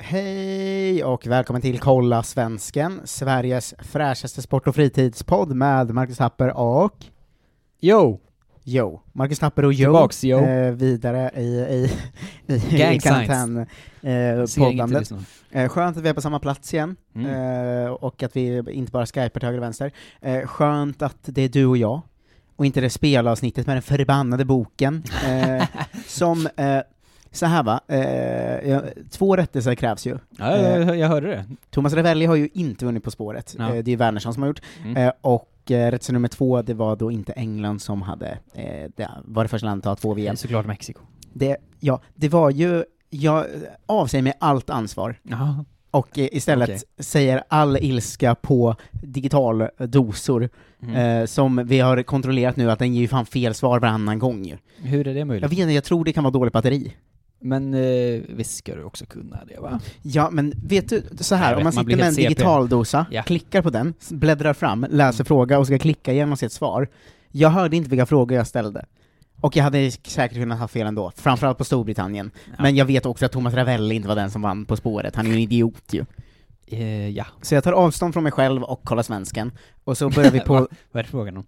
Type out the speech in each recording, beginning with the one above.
Hej och välkommen till Kolla Svensken, Sveriges fräschaste sport och fritidspodd med Marcus Happer och Yo! Jo. Marcus Happer och Jo Tillbaks, yo. Eh, vidare i, i, i, i Gang signs. Ser inget karantän-poddandet. till just Eh, skönt att vi är på samma plats igen, nu. Mm. eh, och att vi inte bara skypar till höger och vänster. Eh, skönt att det är du och jag, och inte det spelavsnittet med den förbannade boken. Eh, som, eh, så här va, eh, ja, två rättelser krävs ju. ja, jag, jag hörde det. Thomas Ravelli har ju inte vunnit På spåret, Ja. Eh, det är ju Wernersson som har gjort. Mm. Eh, Och eh, rättelse nummer två, det var då inte England som hade eh, det var det första landet att ha två VM. Såklart Mexiko. Det, ja, det var ju, jag avsäger mig allt ansvar Ja. och eh, istället Okej. säger all ilska på digital dosor Mm. eh, som vi har kontrollerat nu att den ger ju fan fel svar varannan gång ju. Hur är det Jag möjligt? vet inte, jag tror det kan vara dåligt batteri. Men eh, visst ska du också kunna det va? Ja, men vet du, så här, Nej, jag om man vet, man sitter blir med en helt CP. digital dosa, Ja. klickar på den, s- bläddrar fram, läser fråga och ska klicka igenom sitt svar. Jag hörde inte vilka frågor jag ställde. Och jag hade säkert kunnat ha fel ändå, framförallt på Storbritannien. Men jag vet också att Thomas Ravelli inte var den som vann På spåret, han är ju en idiot ju. Eh, ja. Så jag tar avstånd från mig själv och kollar svensken, och så börjar vi på, Eh, Va? Vad är det frågan om?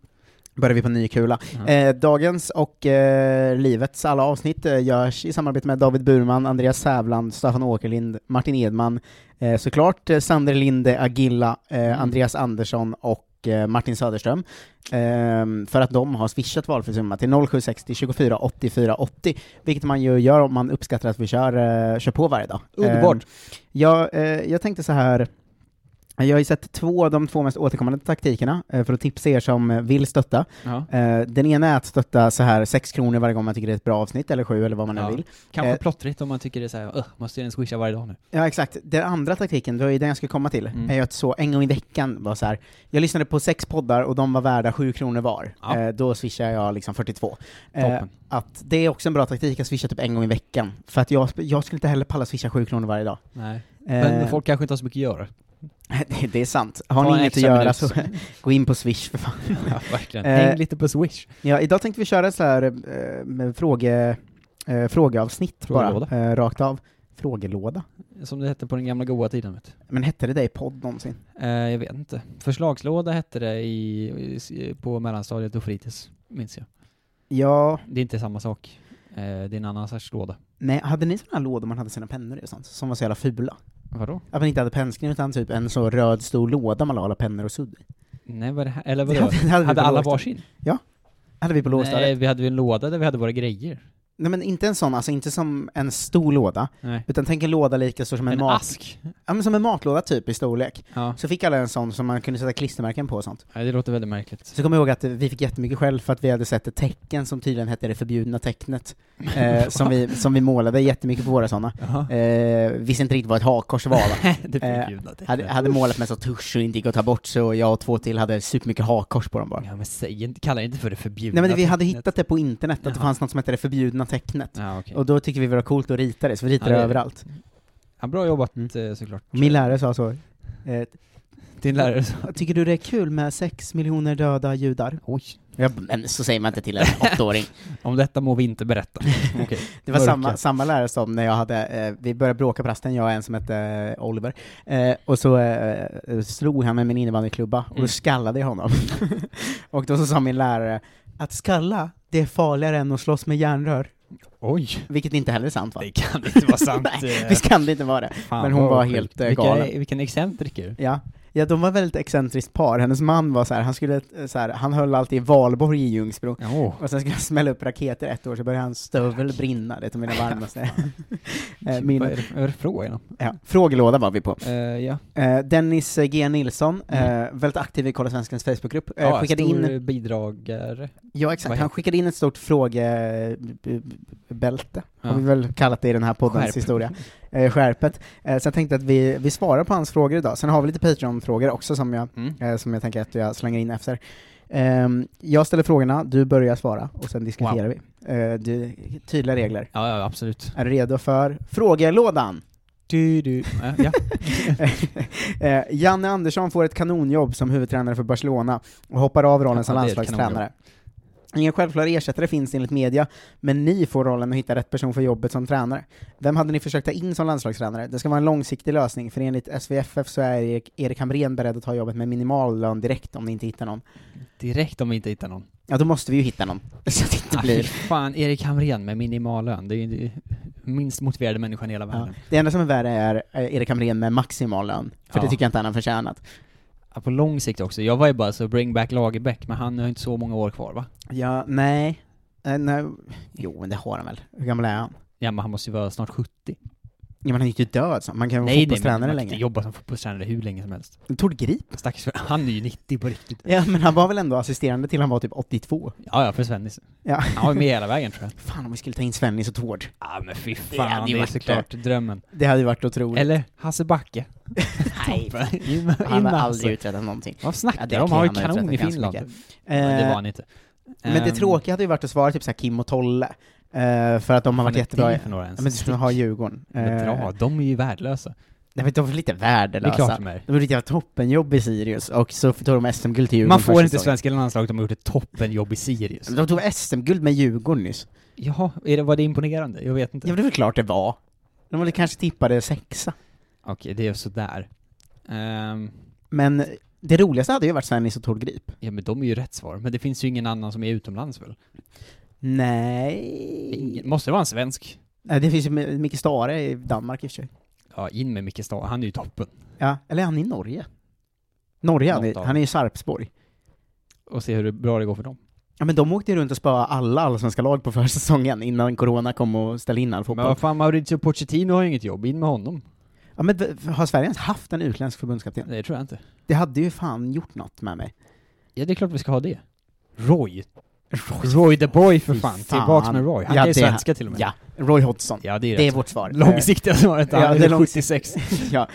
börjar vi på ny kula. Ja. Eh, dagens och eh, livets alla avsnitt eh, görs i samarbete med David Burman, Andreas Sävland, Staffan Åkerlind, Martin Edman, eh, såklart eh, Sander Linde, Agilla, eh, Mm. Andreas Andersson och eh, Martin Söderström, ehm, för att de har swishat valfri summa till 0760 24 84 80, vilket man ju gör om man uppskattar att vi kör, eh, kör på varje dag. Underbart. Ehm, jag, eh, jag tänkte så här, jag har ju sett två, de två mest återkommande taktikerna, eh, för att tipsa er som eh, vill stötta. ja. Eh, den ena är att stötta så här 6 kronor varje gång man tycker det är ett bra avsnitt, eller 7 eller vad man nu Ja. vill. Kanske eh, plottrigt om man tycker det är såhär, öh, måste jag ens swisha varje dag nu? Ja, exakt. Den andra taktiken, det var ju den jag skulle komma till, Mm. är ju att så en gång i veckan var så här, jag lyssnade på sex poddar och de var värda 7 kronor var. Ja. Eh, då swishar jag liksom 42. Eh, Toppen. att det är också en bra taktik att swisha typ en gång i veckan, för att jag, jag skulle inte heller palla swisha 7 kronor varje dag. Nej. Eh, Men folk kanske inte har så mycket att göra. det, det är sant. Har Ta ni en inget att extra göra minut. så gå in på swish för fan. ja, verkligen. Eh, Häng lite på swish. Ja, idag tänkte vi köra så här eh, med fråge, eh, frågeavsnitt Frågelåda. bara, eh, rakt av. Frågelåda? Som det hette på den gamla goa tiden vet du. Men hette det det i podd någonsin? Eh, jag vet inte. Förslagslåda hette det i, i, på mellanstadiet och fritids, minns jag. Ja, Det är inte samma sak. Eh, det är en annan sorts låda. nej, hade ni sådana här lådor man hade sina pennor i och sånt, som var så jävla fula? Vadå? Att man inte hade pennskrivning utan typ en så röd stor låda man la alla pennor och sudd i? Nej, vad det här? Eller vadå? Det hade vi på hade alla lågstadiet. varsin? hade vi på Nej, lågstadiet. vi hade ju en låda där vi hade våra grejer. Nej men inte en sån, alltså inte som en stor låda, Nej. utan tänk en låda lika stor som en, En mat... ask. Ja men som en matlåda typ i storlek. Ja. Så fick alla en sån som man kunde sätta klistermärken på och sånt. Nej, det låter väldigt märkligt. Så kommer jag ihåg att vi fick jättemycket skäll för att vi hade sett ett tecken som tydligen hette det förbjudna tecknet, eh, som, vi, som vi målade jättemycket på våra sådana. Jaha. Eh, visste inte riktigt vad ett hakkors var va? det eh, förbjudna tecknet. Hade, hade målat med så tusch och inte gick att ta bort, så jag och två till hade supermycket hakkors på dem bara. Ja men säg inte, kalla det inte för det förbjudna Nej men vi hade tecknet. hittat det på internet, att det Jaha. fanns något som hette det förbjudna tecknet. Ja okej. Och då tyckte vi det var coolt att rita det, så vi ritade Ja, det det- överallt. Ja, bra jobbat Mm. eh, såklart. Min lärare sa så, eh, Din lärare sa... tycker du det är kul med sex miljoner döda judar? Oj. Jag, bara, men så säger man inte till en åttaåring. Om detta må vi inte berätta. Okej. Det var Mörka. samma, samma lärare som när jag hade, eh, vi började bråka på rasten, jag och en som hette eh, Oliver, eh, och så eh, slog han med min innebandyklubba, och då Mm. skallade jag honom. och då så sa min lärare, att skalla, det är farligare än att slåss med järnrör. Oj. Vilket inte heller är sant va? Det kan inte vara sant. Nej, eh. visst kan det inte vara det? Fan, men hon vad var sjukt. helt, eh, Vilka- galen. Vilken excentriker. Ja. Ja, de var väldigt excentriskt par. Hennes man var så här, han skulle, eh, så här, han höll alltid valborg i Ljungsbro. Ja, åh. Och sen skulle han smälla upp raketer ett år, så började hans stövel brinna, det är ett av mina varmaste eh, Vad minnen. är det- vad är det frågan om? Ja. Frågelåda var vi på. Eh, ja. Eh, Dennis G. Nilsson, eh, väldigt aktiv i Kolla Svenskens Facebookgrupp, eh, Mm. ja, skickade stor in, bidragare. ja vad exakt, heter- han skickade in ett stort eh, frågebälte, Ja. har vi väl kallat det i den här poddens Skärp. historia, eh, skärpet. Eh, så jag tänkte att vi, vi svarar på hans frågor idag, sen har vi lite Patreon-frågor också som jag, Mm. eh, som jag tänker att jag slänger in efter. Ehm, jag ställer frågorna, du börjar svara, och sen diskuterar vi. Eh, du, tydliga regler. Ja, ja, absolut. Är du redo för frågelådan? Du, du. Ja, ja. Eh, Janne Andersson får ett kanonjobb som huvudtränare för Barcelona och hoppar av rollen Ja, som det är ett landslagstränare. Ingen självklar ersättare finns enligt media, men ni får rollen att hitta rätt person för jobbet som tränare. Vem hade ni försökt ta in som landslagstränare? Det ska vara en långsiktig lösning, för enligt SVFF så är Erik, Erik Hamrén beredd att ta jobbet med minimal lön direkt om ni inte hittar någon. Direkt om vi inte hittar någon. Ja, då måste vi ju hitta någon, så att det inte Ah, fy blir... fan, Erik Hamrén med minimal lön. Det är ju det är ju minst motiverade människan i hela Ja. världen. Det enda som är värre är eh, Erik Hamrén med maximal lön, för det Ja. tycker jag inte han har förtjänat. Ja, på lång sikt också. Jag var ju bara så bring back Lagerbäck, men han har ju inte så många år kvar va? Ja, nej. Eh, nej. Jo, men det har han väl? Hur gammal är han? Ja men han måste ju vara snart 70. Ja, men han är ju inte död, så man kan vara Nej, nej, men fotbollstränare man kan inte länge. jobba som fotbollstränare hur länge som helst. Tord Grip? Stackars för, han är ju 90 på riktigt. Ja, men han var väl ändå assisterande till han var typ 82? Ja, ja, för Svennis. Ja. Han var med hela vägen tror jag. Fan om vi skulle ta in Svennis och Tord. Ja men fy Det hade fan, ju det, är varit såklart drömmen. Det hade ju varit otroligt. Eller Hasse Backe. Nej, In med- in han med har Hasse. aldrig uträttat någonting. Vad Ja, snackar det de? Han kan var ju han ha kanon i uträttat Finland. ganska Men det Eh, var han inte. Men det Ehm, tråkiga hade ju varit att svara typ såhär Kim och Tolle, eh, för att de har vad varit fan är jättebra. det i- för några ens? Ja, men du skulle ha Djurgården. Men Eh, Bra, de är ju värdelösa. Nej men de var lite Det är klart värdelösa. de är. De gjorde ett jävla toppenjobb i Sirius, och så tog de SM-guld till Djurgården Man får första inte säsongen. svenska landslaget, de har gjort ett toppenjobb i Sirius. De tog SM-guld med Djurgården nyss. Jaha, är det, var det imponerande? Jag vet inte. Ja men det är väl klart det var. De hade kanske tippade sexa. Okej, det är sådär. Um, Men det roligaste hade ju varit Svennis och Tord Grip. ja men de är ju rätt svar, men det finns ju ingen annan som är utomlands väl? Nej. Ingen, måste det vara en svensk? Nej, Det finns ju Mi- Micke Stare i Danmark i och för sig. Ja, in med Micke Stahl, han är ju toppen. Ja, eller är han i Norge? Norge, han Något är, av han är i Sarpsborg. Och se hur det- bra det går för dem. Ja men de åkte ju runt och spöade alla allsvenska lag på försäsongen innan corona kom och ställde in all Men fotboll. vad fan, Mauricio Pochettino har ju inget jobb, in med honom. Ja men v- har Sverige ens haft en utländsk förbundskapten? Det tror jag inte. Det hade ju fan gjort något med mig. Ja, det är klart vi ska ha det. Roy. Roy the boy för Fy fan. fan. Tillbaks med Roy. Han Ja, är ju det- svenska till och med. Ja, Roy Hodgson. ja det är Det är rätt. vårt svar. Långsiktiga svaret, Ja, han det är är långsiktigt. 76. ja,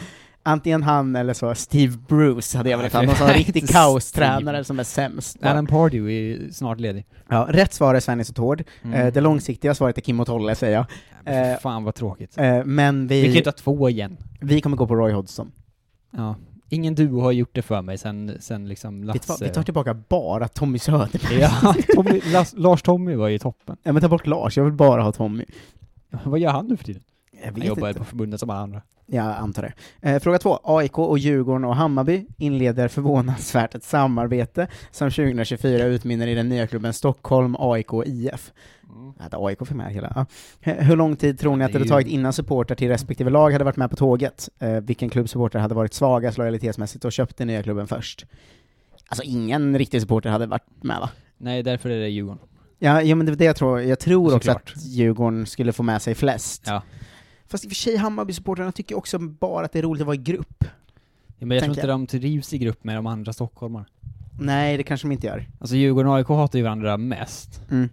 antingen han eller så Steve Bruce hade jag velat ha, någon sån Nej, riktig inte kaostränare Steve. som är sämst. Alan Pardew är ju snart ledig. Ja, rätt svar är Svennis och Tord. Mm. Eh, Det långsiktiga svaret är Kim och Tolle, säger jag. Ja, men eh, för fan vad tråkigt. Eh, Men Vi kan ju vi, ta två igen. vi kommer gå på Roy Hodgson. Ja. Ingen duo har gjort det för mig sen, sen liksom Vi Lasse... tar, vi tar tillbaka bara Tommy Söderberg. ja, Tommy, Las, Lars-Tommy var ju toppen. Ja, men ta bort Lars, jag vill bara ha Tommy. Vad gör han nu för tiden? Jag Han vet jobbar inte. på förbundet som alla andra. Jag antar det. Eh, fråga två. AIK och Djurgården och Hammarby inleder förvånansvärt ett samarbete som 2024 utmynnar i den nya klubben Stockholm AIK IF. Mm. Att AIK fick med hela. Ja. Eh, Hur lång tid tror ni att det Det är hade ju- tagit innan supportrar till respektive lag hade varit med på tåget? Eh, vilken klubbsupporter hade varit svagast lojalitetsmässigt och köpt den nya klubben först? Alltså ingen riktig supporter hade varit med va? Nej, därför är det Djurgården. Ja, ja men det är det jag tror. Jag tror också Såklart. att Djurgården skulle få med sig flest. Ja. Fast i och för sig, Hammarby-supportrarna tycker också bara att det är roligt att vara i grupp. Men jag tror Tänker inte de trivs i grupp med de andra stockholmarna. Nej, det kanske de inte gör. Alltså Djurgården och AIK hatar ju varandra mest. Mm.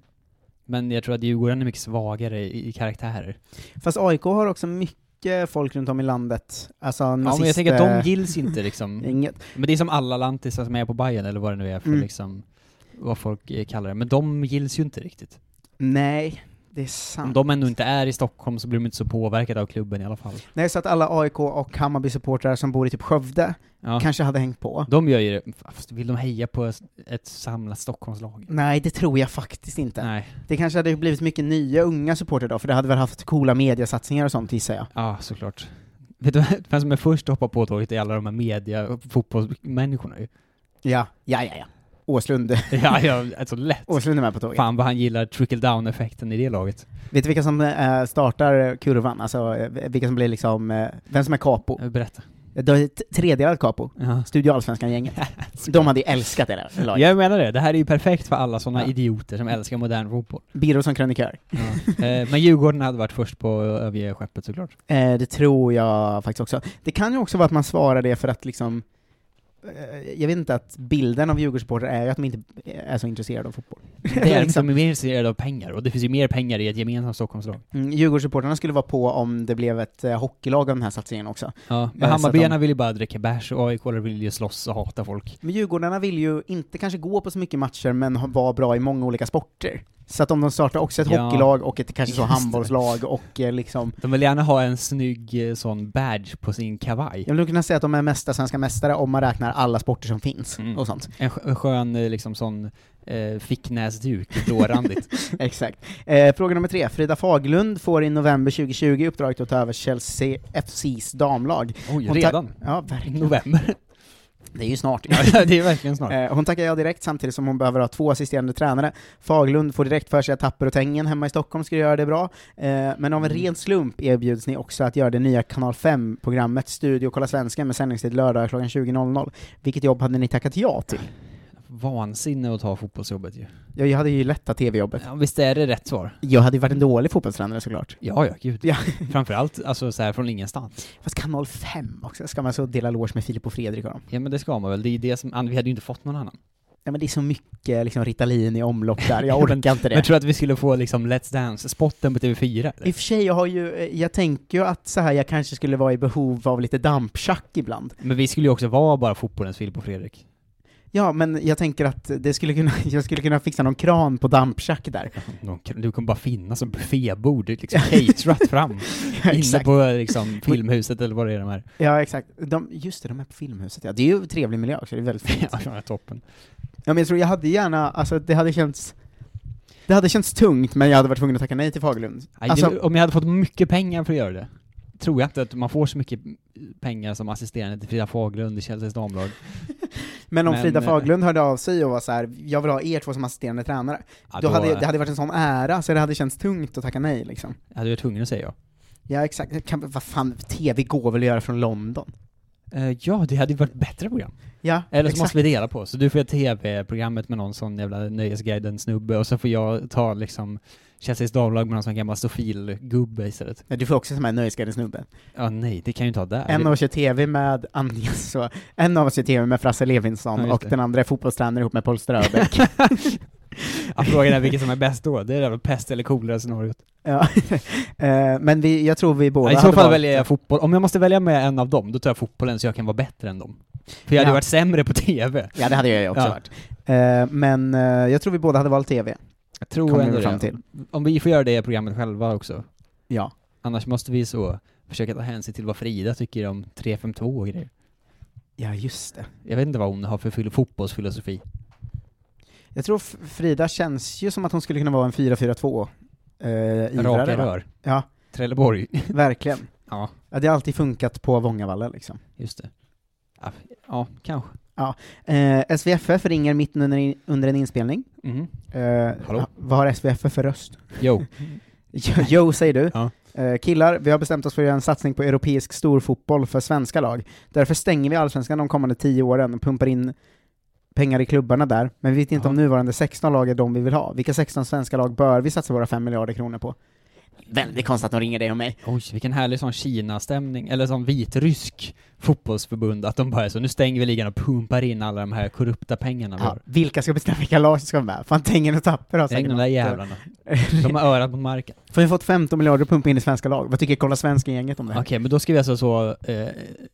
Men jag tror att Djurgården är mycket svagare i, i karaktärer. Fast AIK har också mycket folk runt om i landet. Alltså nazister... Ja, men jag tänker att de gills inte liksom. Inget. Men det är som alla lantisar som är på Bayern eller vad det nu är för Mm. liksom, vad folk eh, kallar det. Men de gills ju inte riktigt. Nej, det är Om sant. de ändå inte är i Stockholm så blir de inte så påverkade av klubben i alla fall. Nej, så att alla AIK och Hammarby-supportrar som bor i typ Skövde Ja. kanske hade hängt på. De gör ju det, fast vill de heja på ett- ett samlat Stockholmslag? Nej, det tror jag faktiskt Mm, inte. Nej, Det kanske hade blivit mycket nya unga supportrar då, för det hade väl haft coola mediasatsningar och sånt gissar jag. ja såklart. Vet du vem som är först att hoppa på tåget är alla de här media och fotbollsmänniskorna ju. Ja, ja, ja, ja. Åslund. Ja, ja, alltså lätt. Åslund är med på tåget. Fan vad han gillar trickle down-effekten i det laget. Vet du vilka som eh, startar kurvan? Alltså eh, vilka som blir liksom, eh, vem som är kapo? Berätta. Det är ett tredelat kapo. Ja. Studio Allsvenskan-gänget. De hade ju älskat det där laget. Jag menar det, det här är ju perfekt för alla sådana Ja. idioter som älskar modern fotboll. Birro som krönikör. Eh, Men Djurgården hade varit först på att överge skeppet såklart. Eh, det tror jag faktiskt också. Det kan ju också vara att man svarar det för att liksom, eh, jag vet inte, att bilden av Djurgårdssupportrar är ju att de inte är så intresserade av fotboll. Det är Liksom. liksom mer intresserade av pengar, och det finns ju mer pengar i ett gemensamt Stockholmslag. Mm, Djurgårdssupportrarna skulle vara på om det blev ett eh, hockeylag av den här satsningen också. Ja, så men att Hammarbyarna de- vill ju bara dricka bärs och AIK vill ju slåss och hata folk. Men Djurgårdarna vill ju inte kanske gå på så mycket matcher, men ha- vara bra i många olika sporter. Så att om de startar också ett Ja. hockeylag och ett kanske så Just det. handbollslag och eh, liksom, De vill gärna ha en snygg eh, sån badge på sin kavaj. jag skulle kunna säga att de är mästarsvenska mästare om man räknar alla sporter som finns Mm. och sånt. En skö- en skön eh, liksom sån eh, ficknäsduk, blårandigt. Exakt. Eh, fråga nummer tre. Frida Faglund får i november 2020 uppdraget att ta över Chelsea FCs damlag. Hon Oj, tar- redan? Ja, verkligen. November? Det är ju snart. ja, det är verkligen snart. Eh, Hon tackar ja direkt samtidigt som hon behöver ha två assisterande tränare. Faglund får direkt för sig att Tapper och Tängen hemma i Stockholm skulle göra det bra, Eh, men av en Mm. ren slump erbjuds ni också att göra det nya Kanal 5-programmet Studio Kolla Svenska med sändningstid lördag klockan 20.00. Vilket jobb hade ni tackat ja till? Vansinne att ta fotbollsjobbet ju. Jag jag hade ju lättat TV-jobbet. Ja, visst är det rätt svar? Jag hade ju varit en dålig fotbollstränare såklart. Ja, ja, gud. Ja. Framförallt alltså, så här från ingenstans. Fast Kanal 5 också, ska man så dela lås med Filip och Fredrik och dem? Ja, men det ska man väl. Det är det som, an- vi hade ju inte fått någon annan. Ja men det är så mycket liksom Ritalin i omlopp där, jag orkar inte det. Men tror du att vi skulle få liksom Let's Dance-spotten på TV4? I Eller? och för sig, jag, har ju, eh, jag tänker ju att så här, jag kanske skulle vara i behov av lite dampschack ibland. Men vi skulle ju också vara bara fotbollens Filip och Fredrik. Ja, men jag tänker att det skulle kunna, jag skulle kunna fixa någon kran på dampschack där. De, du kommer bara finnas som buffébord, liksom caterat fram. inne Exakt. på liksom, filmhuset eller vad det är de här. Ja, exakt. De, just det, de är på Filmhuset, ja. Det är ju en trevlig miljö också, det är väldigt fint. Ja, de är toppen. Ja, men jag tror jag hade gärna, alltså det hade känts, det hade känts tungt, men jag hade varit tvungen att tacka nej till Fagerlund. Nej, Alltså- det, om jag hade fått mycket pengar för att göra det, tror jag inte att man får så mycket pengar som assisterande till Frida Faglund i Chelseas damlag. Men om Men, Frida eh, Faglund hörde av sig och var så här, jag vill ha er två som assisterande tränare, Ja, då hade, det hade varit en sån ära, så det hade känts tungt att tacka nej liksom. jag hade varit tvungen att säga ja. Ja, exakt. Kan, vad fan, TV går väl att göra från London? Eh, ja, det hade ju varit bättre program. Ja, Eller så exakt. måste vi dela på, så du får göra TV-programmet med någon sån jävla Nöjesguiden-snubbe och så får jag ta liksom Chelseas damlag med någon sån gammal stofilgubbe istället. Nej, Du får också som här nöjesguiden-snubben. Ja, nej, det kan jag ju inte ha där. En av oss gör TV med Anja, så, en av oss gör TV med Frasse Ja, Levinson just och det. den andra är fotbollstränare ihop med Paul Ströbeck. ja, frågan är vilket som är bäst då, det är det väl pest eller kolera-scenariot. ja. Eh, Men vi, jag tror vi båda Ja, I så hade fall valt- väljer jag fotboll. Om jag måste välja med en av dem, då tar jag fotbollen så jag kan vara bättre än dem. För jag hade Ja. ju varit sämre på TV. Ja, det hade jag ju också Ja. varit. Eh, Men eh, jag tror vi båda hade valt TV, Jag tror kommer ändå vi fram det. till. Om vi får göra det programmet själva också. Ja. Annars måste vi så försöka ta hänsyn till vad Frida tycker om 352 och grejer. Ja, just det. Jag vet inte vad hon har för fil- fotbollsfilosofi. Jag tror F- Frida känns ju som att hon skulle kunna vara en 4-4-2 eh, Raka ivrare. va? rör. Ja. Trelleborg. Verkligen. ja, Ja, det har alltid funkat på Vångavalla liksom. just det. Ja, ja kanske. Eh, SVFF ringer mitt under, in, under en inspelning. Mhm. Eh, Hallå? ha- Vad har SVFF för röst? Jo. Jo, jo, säger du. Ja. Eh, killar, vi har bestämt oss för att göra en satsning på europeisk storfotboll för svenska lag. Därför stänger vi allsvenskan de kommande tio åren och pumpar in pengar i klubbarna där, men vi vet inte Ja. om nuvarande 16 lag är de vi vill ha. Vilka 16 svenska lag bör vi satsa våra 5 miljarder kronor på? Väldigt konstigt att de ringer dig och mig. Oj, vilken härlig sån Kina-stämning, eller sån vitrysk fotbollsförbund, att de bara är så, nu stänger vi ligan och pumpar in alla de här korrupta pengarna vi Ja, har. vilka ska bestämma vilka lag som ska vara med? Fan, Tengen och Tapper alltså. har Stäng säkert de där något. jävlarna. De har örat mot marken. För vi har fått 15 miljarder att pumpa in i svenska lag. Vad tycker Kolla Svenska-gänget om det Okej, här? men då ska vi alltså så eh,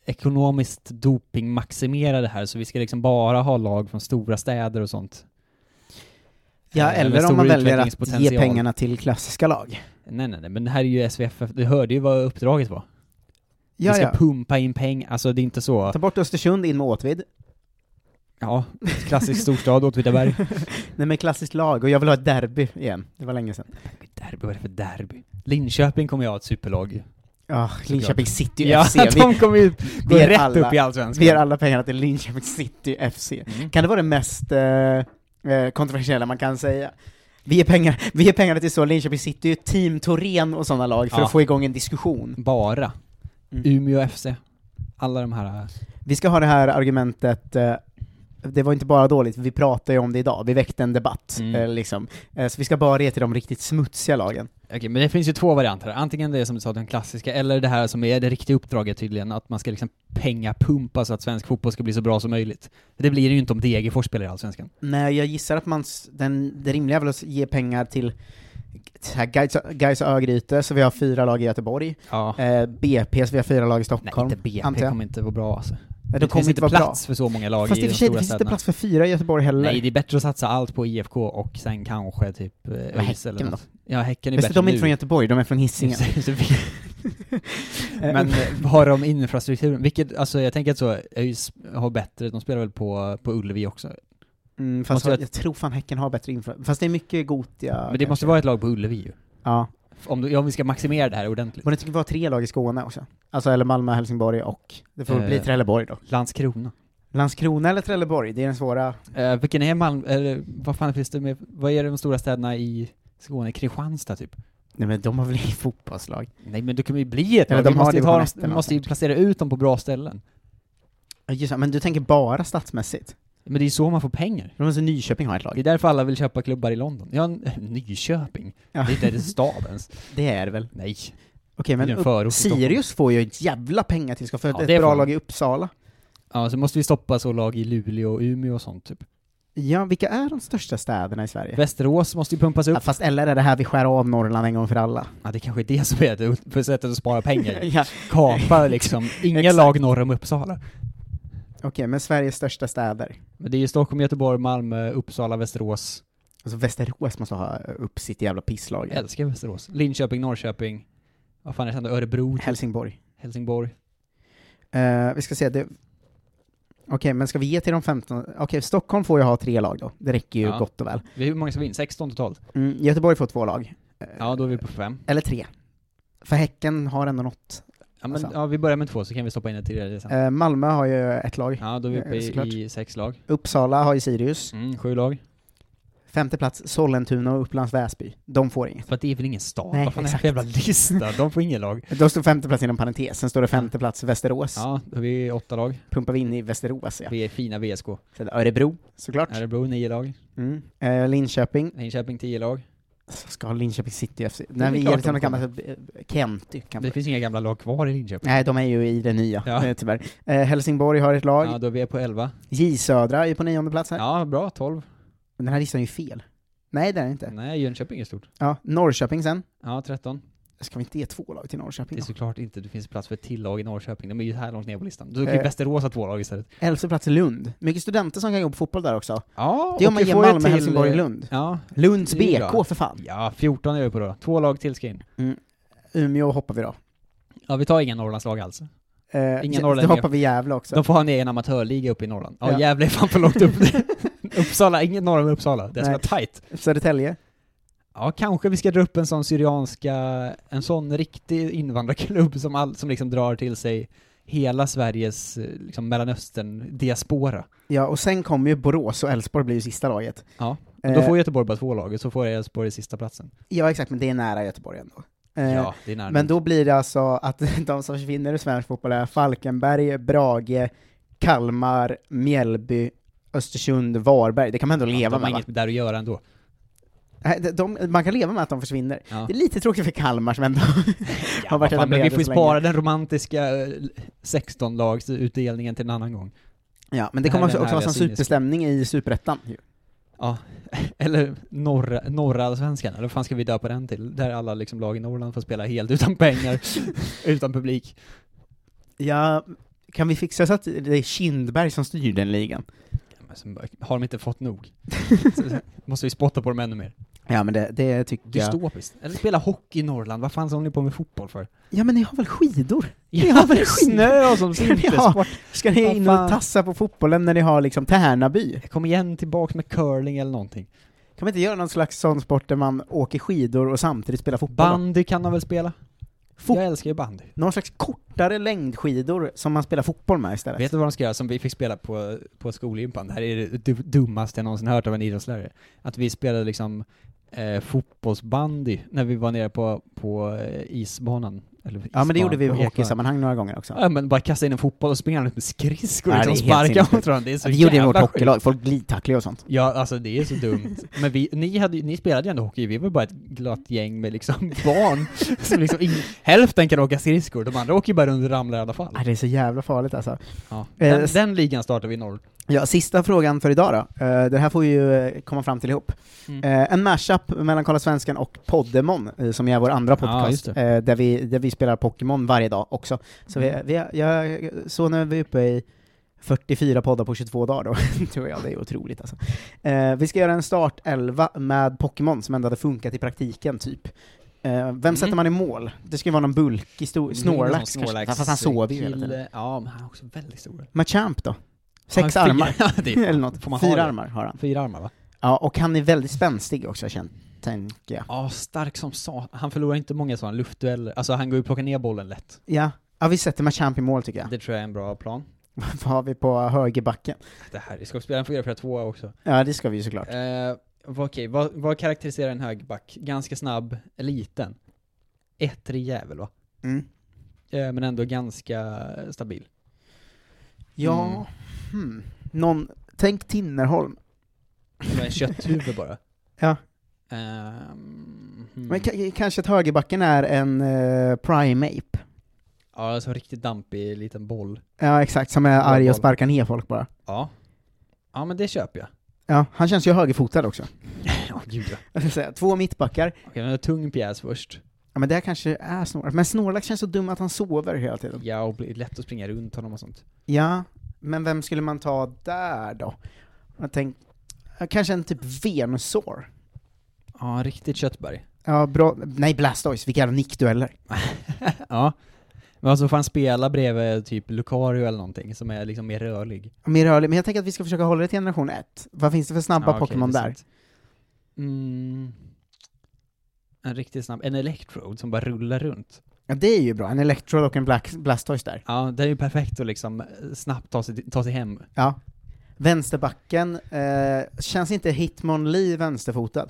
ekonomiskt dopingmaximera det här, så vi ska liksom bara ha lag från stora städer och sånt. Ja, Eh, eller med om man stor väljer att ge utvecklingspotential. pengarna till klassiska lag. Nej, nej, nej, men det här är ju SVFF, du hörde ju vad uppdraget var. vi Ja, ska ja. pumpa in pengar, alltså det är inte så, Ta bort Östersund, in med Åtvid. ja, klassisk storstad, Åtvidaberg. Nej men klassiskt lag, och jag vill ha ett derby igen. Det var länge sedan. derby, vad är det för derby? Linköping kommer jag ha ett superlag ju. Ja, Ah, Linköping City Ja, FC. Vi, de kommer ju gå ger rätt alla- upp i vi ger Allsvenskan. alla pengarna till Linköping City FC. Mm. Kan det vara det mest eh, eh, kontroversiella man kan säga? Vi ger, pengar, vi ger pengarna till så Linköping City, Team Torén och sådana lag för Ja. att få igång en diskussion. Bara. Mm. Umeå FC. Alla de här... äh, Vi ska ha det här argumentet, eh, det var inte bara dåligt, vi pratade ju om det idag, vi väckte en debatt. Mm. Eh, liksom. eh, så vi ska bara ge till de riktigt smutsiga lagen. Okej, men det finns ju två varianter. Antingen det som du sa, den klassiska, eller det här som är det riktiga uppdraget tydligen, att man ska liksom pengapumpa så att svensk fotboll ska bli så bra som möjligt. Det blir det ju inte om Degerfors spelar i Allsvenskan. Nej, jag gissar att man, s- den, det rimliga är väl att ge pengar till så här, Gais- Gais och Örgryte, så vi har fyra lag i Göteborg. Ja. Eh, BP, så vi har fyra lag i Nej, Stockholm. inte BP antar jag. kommer inte vara bra alltså. det kommer Det, finns inte inte vara bra. plats för så många lag Fast i i och de för sig, det stora finns inte städerna. plats för fyra i Göteborg heller. Nej, det är bättre att satsa allt på IFK och sen kanske typ eh, Men ÖIS eller Häcken något. Ja, Häcken är Visst, bättre de är nu. inte från Göteborg, de är från Hisingen. Så vi- Men eh, har de infrastrukturen? Vilket, alltså jag tänker att så, ÖIS har bättre, de spelar väl på, på Ullevi också? Mm, fast Måste jag, vara jag tror fan Häcken har bättre infra. Fast det är mycket Gotia. Men det kanske. måste vara ett lag på Ullevi ju. Ja. Om, du, om vi ska maximera det här ordentligt. Och det tycker vi har tre lag i Skåne också. Alltså, eller Malmö, Helsingborg och... Det får väl bli Eh. Trelleborg då. Landskrona. Landskrona eller Trelleborg, det är den svåra... Eh, vilken är Malmö, eller vad fan finns det med, vad är de stora städerna i Skåne? Kristianstad typ? Nej men de har väl inget fotbollslag? Nej men det kommer ju bli ett Eller de lag, vi har måste, ju, division ta dem, ett eller vi något måste ju sånt. placera ut dem på bra ställen. Ja, Just, det, men du tänker bara statsmässigt? Men det är ju så man får pengar. De måste Nyköping ha ett Det är lag. därför alla vill köpa klubbar i London. Ja, n- Nyköping? Ja. Det är inte ens en stad ens. Det är det väl? Nej. Okej, Det är en men förort upp, till Stockholm. Sirius får ju ett jävla pengatillskott för Ja, ett det bra får de. lag i Uppsala. Ja, så måste vi stoppa så lag i Luleå och Umeå och sånt typ. Ja, vilka är de största städerna i Sverige? Västerås måste ju pumpas upp. Ja, fast eller är det här vi skär av Norrland en gång för alla? Ja, det kanske är det som är det för sättet att spara pengar. ja. Kapa liksom, inga Exakt. lag norr om Uppsala. Okej, men Sveriges största städer? Men det är ju Stockholm, Göteborg, Malmö, Uppsala, Västerås. Alltså Västerås måste ha upp sitt jävla pisslag. Jag älskar Västerås. Linköping, Norrköping. Vad fan är det sen då? Örebro, typ. Helsingborg. Helsingborg. Eh, vi ska se, det... Okej, men ska vi ge till de 15? Okej, Stockholm får ju ha tre lag då. Det räcker ju Ja. gott och väl. Vi- Hur många ska vi in? 16 totalt? Mm, Göteborg får två lag. Eh, Ja, då är vi på fem. Eller tre. För Häcken har ändå något. Ja, men, Alltså. ja, vi börjar med två så kan vi stoppa in ett tredje sen. Eh, Malmö har ju ett lag. Ja, då är vi uppe eh, såklart. i, i sex lag. Uppsala har ju Sirius. Mm, sju lag. Femte plats, Sollentuna och Upplands Väsby. De får inget. För att det är väl ingen stad? Nej, Vad fan är det här exakt. för jävla lista? De får ingen lag. Då står femte plats inom parentes, sen står det femte plats Västerås. Ja, då är vi åtta lag. Pumpar vi in i Västerås, ja. Vi är fina VSK. Sen Örebro, såklart. Örebro nio lag. Mm. Eh, Linköping. Linköping tio lag. Så Ska Linköping City FC? Det När är vi klart ger till de något gammalt, eh, Kenty kanske. Det finns inga gamla lag kvar i Linköping. Nej, de är ju i det nya, Ja. eh, tyvärr. Eh, Helsingborg har ett lag, Ja, då är vi på elva. J Södra är på nionde plats här. Ja, bra. Tolv. Men Den här listan är ju fel. Nej, det är den inte. Nej, Jönköping är stort. Ja, Norrköping sen. Ja, tretton. Ska vi inte ge två lag till Norrköping? Det är då? såklart inte, det finns plats för ett till lag i Norrköping. De är ju här långt ner på listan. Då kan ju Eh. Västerås ha två lag istället. Elfte plats är Lund. Mycket studenter som kan jobba på fotboll där också. Ja, Det är om man och vi ger får ju Malmö, till- eh, Helsingborg, Lund. Ja, Lunds det är ju bra. BK för fan. ja, 14 är vi på då. Två lag till ska in. Umeå hoppar vi då. Ja, vi tar inga Norrlandslag alls. Eh, Inga ja, norrlänningar. Då hoppar vi Gävle också. De får ha en egen amatörliga uppe i Norrland. Ja, Ja. Gävle är fan för långt upp. Uppsala, inget norr om Uppsala. Det ska Nej. vara tight. Södertälje. Ja, kanske vi ska dra upp en sån syrianska, en sån riktig invandrarklubb som, all, som liksom drar till sig hela Sveriges eh, liksom, Mellanöstern-diaspora. Ja, och sen kommer ju Borås och Elfsborg blir ju sista laget. Ja, Eh, Då får Göteborg bara två lag, och så får Elfsborg sista platsen. Ja, exakt, men det är nära Göteborg ändå. Eh, ja, det är nära. Men då blir det alltså att de som försvinner ur svensk fotboll är Falkenberg, Brage, Kalmar, Mjällby, Östersund, Varberg. Det kan man ändå ja, leva de har med va? inget där att göra ändå. Nej, de- de, Man kan leva med att de försvinner. Ja. Det är lite tråkigt för Kalmar som ändå Ja, har varit vad fan, men vi etablerade får ju så spara den romantiska eh, 16-lagsutdelningen till en annan gång. länge. Ja, men Det det här kommer också, är den också vara härliga sån cyniska. superstämning i Superettan. ju. Ja, eller norra, norra allsvenskan, eller vad fan ska vi döpa den till? Där alla liksom lag i Norrland får spela helt utan pengar, utan publik. Ja, kan vi fixa så att det är Kindberg som styr den ligan? Ja, men sen bara, Har de inte fått nog? Så måste vi spotta på dem ännu mer. Ja, men det, det tycker jag. Dystopiskt. Eller spela hockey i Norrland, vad fan håller ni på med fotboll för? Ja, men ni har väl skidor? Ja, har väl snö som Ja. vintersport! Ska ni Vad in fan. och tassa på fotbollen när ni har liksom Tärnaby? Kom igen tillbaks med curling eller någonting. Kan man inte göra någon slags sån sport där man åker skidor och samtidigt spelar fotboll? då? Bandy kan de väl spela? Fot- Jag älskar ju bandy. Någon slags kortare längdskidor som man spelar fotboll med istället. Vet du vad de ska göra som vi fick spela på, på skolgympan? Det här är det du- dummaste jag någonsin hört av en idrottslärare. Att vi spelade liksom eh, fotbollsbandy när vi var nere på, på eh, isbanan. Eller Ja men det gjorde vi i isbanan, på Ekerö. hockeysammanhang några gånger också. Ja men bara kasta in en fotboll och springa runt med skridskor och Nej, det liksom är helt sparka sinnessjukt. Alltså, mot varandra. Det är så det gjorde vi i vårt jävla sjukt. hockeylag, folk glidtacklade och sånt. Ja, alltså det är så dumt. Men vi, ni, hade, ju- ni spelade ju ändå hockey, vi var bara ett glatt gäng med liksom barn. som liksom ing, hälften kan åka skridskor, de andra åker ju bara runt och ramlar i alla fall. Nej, det är så jävla farligt alltså. Ja. Eh, Den, s- den ligan startar vi i norr. Ja, sista frågan för idag då. Eh, Det här får vi ju eh, komma fram till ihop. Mm. Eh, En mashup mellan Kolla Svensken och Poddemon, eh, som är vår andra podcast, just eh, där, vi, där vi spelar Pokémon varje dag också. Så, Mm. vi, vi, jag, så nu är vi uppe i 44 poddar på 22 dagar då, tror jag. Det är otroligt alltså. Eh, Vi ska göra en startelva med Pokémon som ändå hade funkat i praktiken, typ. Eh, Eh, vem Mm. sätter man i mål? Det ska ju vara någon bulkig stor, Snorlax kanske, fast han sover ju hela tiden. Kille- Ja, men han är också väldigt stor. Machamp då? Sex Han har armar, Fyra, Ja, det är- eller något. Får man ha Fyra det? armar har han. fyra armar va? Ja, och han är väldigt spänstig också, känner- tänker jag. Ja, stark som sa. Han förlorar inte många sådana luftdueller. Alltså han går ju och plockar ner bollen lätt. Ja. ja, vi sätter Machamp i mål tycker jag. Det tror jag är en bra plan. Vad har vi på högerbacken? Det här, vi ska spela en 4-4-2 också. Ja, det ska vi ju såklart. Eh, vad- Okej, vad, vad karaktäriserar en högerback? Ganska snabb, liten. Ettrig jävel va? Mm. Eh, men ändå ganska stabil. Ja, Mm. hmm. Någon, tänk Tinnerholm. Med en kötthuvud bara. Ja. Ehm, hmm. Men ka- eh, kanske att högerbacken är en eh, primeape? Ja, alltså en riktigt dampig liten boll. Ja, exakt, som är arg och Bollboll. sparkar ner folk bara. Ja. Ja men det köper jag. Ja, han känns ju högerfotad också. Ja, gud ja. Jag ska säga, två mittbackar. Okej, men en tung pjäs först. Ja men det här kanske är Snorlax, men Snorlax känns så dum att han sover hela tiden. Ja, och blir lätt att springa runt honom och sånt. Ja, men vem skulle man ta där då? Jag tänkte, kanske en typ Venusaur? Ja, en riktigt köttberg. Ja, bra, nej Blastoise, vilka jävla nickdueller. ja. Men alltså får han spela bredvid typ Lucario eller någonting som är liksom mer rörlig. Mer rörlig, men jag tänker att vi ska försöka hålla det till generation 1. Vad finns det för snabba Ja, okej, Pokémon det är där? sant. Mm. En riktigt snabb, en Electrode som bara rullar runt. Ja det är ju bra, en Electrode och en Black, Blastoise där. Ja, det är ju perfekt att liksom eh, snabbt ta sig, ta sig hem. Ja. Vänsterbacken, eh, känns inte Hitmonlee vänsterfotad?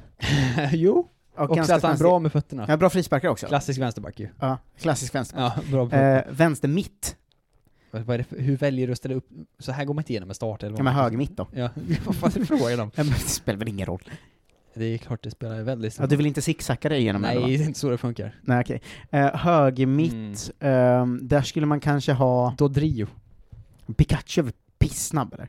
jo, Och också att han är spänstig. bra med fötterna. Ja, bra frisparkar också. Klassisk vänsterback ju. ja, klassisk vänster. Ja, bra på Eh, vänster mitt, Vad vad är det för, hur väljer du att ställa upp? Så här går man inte igenom en start eller ja vad men man- höger mitt då. Ja, vad fan är frågan om? Ja, men det spelar väl ingen roll. liksom. Det är klart det spelar väldigt Ja, du vill inte zigzacka dig igenom Nej, den, va? det är inte så det funkar. Nej, okej. Eh, höger Mm. mitt, ehm, där skulle man kanske ha Dodrio. Pikachu, är väl pissnabb eller?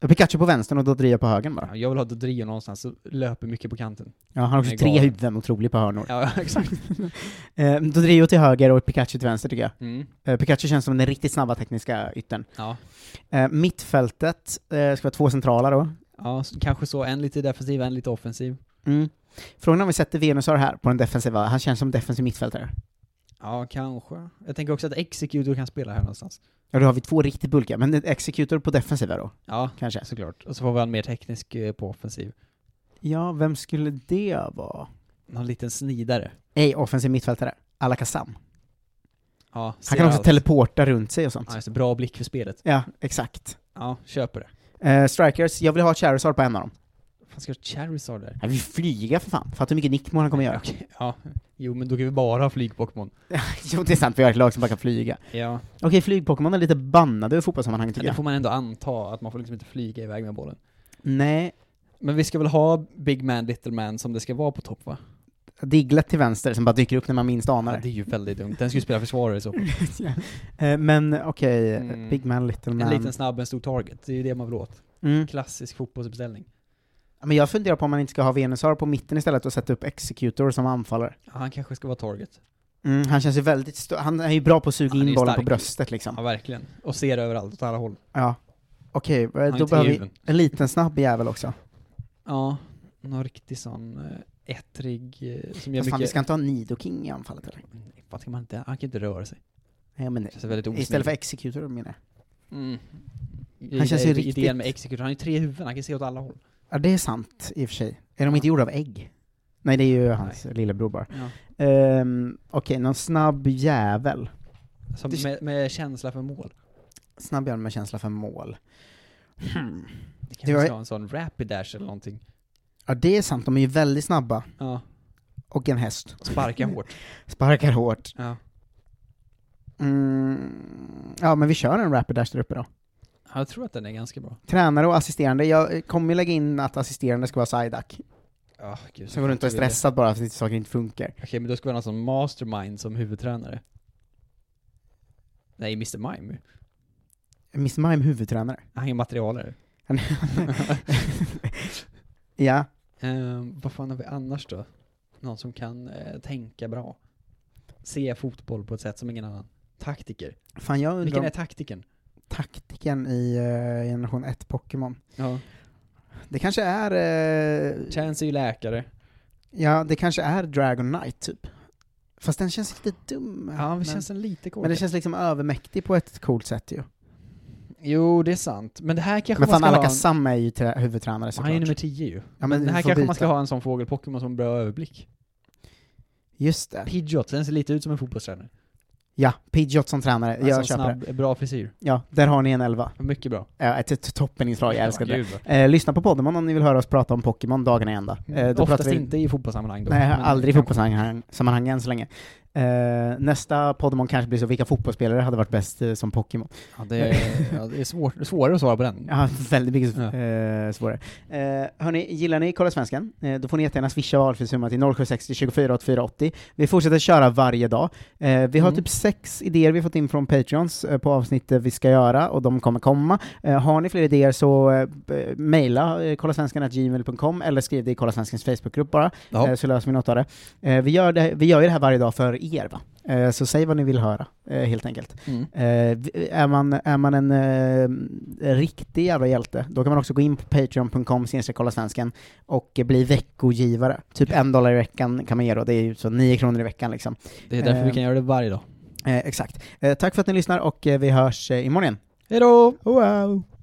Ja, Pikachu på vänstern och Dodrio på högern bara. Ja, jag vill ha Dodrio någonstans, så löper mycket på kanten. Ja, han har också Nej, tre galen. huvuden, otrolig på hörnor. Ja, exakt. Eh, Dodrio till höger och Pikachu till vänster tycker jag. Mm. Eh, Pikachu känns som den riktigt snabba tekniska yttern. Ja. Eh, mittfältet eh, ska vara två centrala då. ja, så- kanske så. En lite defensiv, en lite offensiv. Mm. Frågan är om vi sätter Venusar här på den defensiva, han känns som defensiv mittfältare. Ja, kanske. Jag tänker också att Executor kan spela här någonstans. Ja, då har vi två riktigt bulkiga, men en Executor på defensiva då, Ja, kanske. såklart. Och så får vi en mer teknisk eh, på offensiv. Ja, vem skulle det vara? Någon liten snidare. Ej, offensiv mittfältare. Alakazam. Ja, ser Han kan också allt. teleporta runt sig och sånt. Ja, just det. Bra blick för spelet. Ja, exakt. Ja, köper det. Eh, strikers, jag vill ha Charizard på en av dem. Fan, ska jag ha Charizard där? Jag vill flyga för fan. Fattar hur mycket nickmål han kommer göra. Okej, ja. Jo, men då kan vi bara ha flygpokémon. jo, det är sant, vi har ett lag som bara kan flyga. Ja. Okej, flygpokémon är lite bannade ur fotbollssammanhang tycker Det jag. får man ändå anta, att man får liksom inte flyga iväg med bollen. Nej, Men vi ska väl ha Big Man, Little Man som det ska vara på topp va? Diglett till vänster som bara dyker upp när man minst anar Ja, det är ju väldigt dumt. Den ska ju spela försvarare i så fall. det. Eh, Men okej, Mm. Big Man, Little Man. En liten snabb, en stor target. Det är ju det man vill åt. Mm. Klassisk fotbollsuppställning. Men jag funderar på om man inte ska ha Venusar på mitten istället och sätta upp Executor som anfallare. Ja, han kanske ska vara target. Mm, han känns ju väldigt stor, han är ju bra på att suga Han är in ju bollen på stark. bröstet liksom. Ja, verkligen. Och ser överallt, åt alla håll. Ja. Okej, eh, är då inte behöver vi given. en liten snabb jävel också. Ja, någon riktig sån eh, ettrig eh, som gör Fast fan, vi mycket... ska inte ha Nidoking i anfallet eller? Nej, Vad ska man inte... Han kan inte röra sig. Nej, men Känns väldigt osnygg. istället för Executor menar jag. Mm. Han känns ju Idén riktigt- med Executor, han har ju tre huvuden, han kan se åt alla håll. Ja, det är sant i och för sig. Är de inte gjorda av ägg? Nej, det är ju hans lillebror bara. Ja. Ehm, Okej, någon snabb jävel. Som Det- med, med känsla för mål. Snabb jävel med känsla för mål. Hmm. Det Det kanske var- ska ha en sån rapid dash eller någonting. Ja, det är sant. De är ju väldigt snabba. Ja, Och en häst. sparka hårt. Sparkar hårt. Ja. Mm. Ja, men vi kör en rapid dash där uppe då. Ja, Jag tror att den är ganska bra. Tränare och assisterande. Jag eh, kommer ju lägga in att assisterande ska vara Psyduck. Ja, gud. Så går du inte och är stressad bara för att saker inte funkar. Okej, men då ska vi ha någon sån mastermind som huvudtränare. Nej, Mr Mime. Miss Mime huvudtränare. Han är materialare. ja. Ehm, vad fan har vi annars då? Någon som kan eh, tänka bra. Se fotboll på ett sätt som ingen annan. Taktiker. Fan jag undrar Vilken om är taktiken? taktiken i eh, generation 1 Pokémon. Ja. Det kanske är... eh, Chance är ju läkare. Ja, det kanske är Dragon Knight, typ. Fast den känns lite dum. Ja, men, det känns en lite men korkad. den känns liksom övermäktig på ett coolt sätt ju. Jo, det är sant. Men det här kanske Men man fan, ska ha... Alaka en- Sam är ju trä- huvudtränare såklart. Han är ju nummer 10 ju. ja, Men det vi här får kanske byta. man ska ha en sån fågel-Pokémon som har bra överblick. Just det. Pidgeot, den ser lite ut som en fotbollstränare. Ja, Pidgeot som tränare. Alltså, jag köper det. snabb, bra frisyr. Ja, där har ni en elva. Mycket bra. Ja, ett, ett toppeninslag, jag älskar det. Gud, bra. Eh, lyssna på podden om ni vill höra oss prata om Pokémon dagarna i ända. Eh, då Oftast pratar vi... inte i fotbollssammanhang då. Nej, jag har men- aldrig i fotbollssammanhang sammanhang än så länge. Eh, nästa Podemon kanske blir så, vilka fotbollsspelare hade varit bäst eh, som Pokémon? Ja, det är, ja, det är svårt, svårare att svara på den. Ja, väldigt mycket Ja. eh, svårare. Eh, hörni, gillar ni Kolla Svensken? Eh, då får ni jättegärna swisha valfri summa till 0760 24 8480. Vi fortsätter köra varje dag. Eh, vi har Mm. typ sex idéer vi fått in från Patreons eh, på avsnittet vi ska göra, och de kommer komma. Eh, har ni fler idéer så eh, b- mejla eh, kollasvenskan.gmail.com eller skriv det i Kolla Svenskens Facebookgrupp bara, Ja. eh, så löser vi något av det. Eh, vi, gör det. Vi gör ju det här varje dag för er, va? Eh, så säg vad ni vill höra, eh, helt enkelt. Mm. Eh, vi- är, man, är man en eh, riktig jävla hjälte, då kan man också gå in på patreon.com snedstreck kolla svensken och eh, bli veckogivare. Typ en dollar i veckan kan man ge då, det är ju så nio kronor i veckan liksom. Det är därför Eh. vi kan göra det varje dag. Eh, exakt. Eh, tack för att ni lyssnar och eh, vi hörs eh, imorgon igen. Hej då! Wow!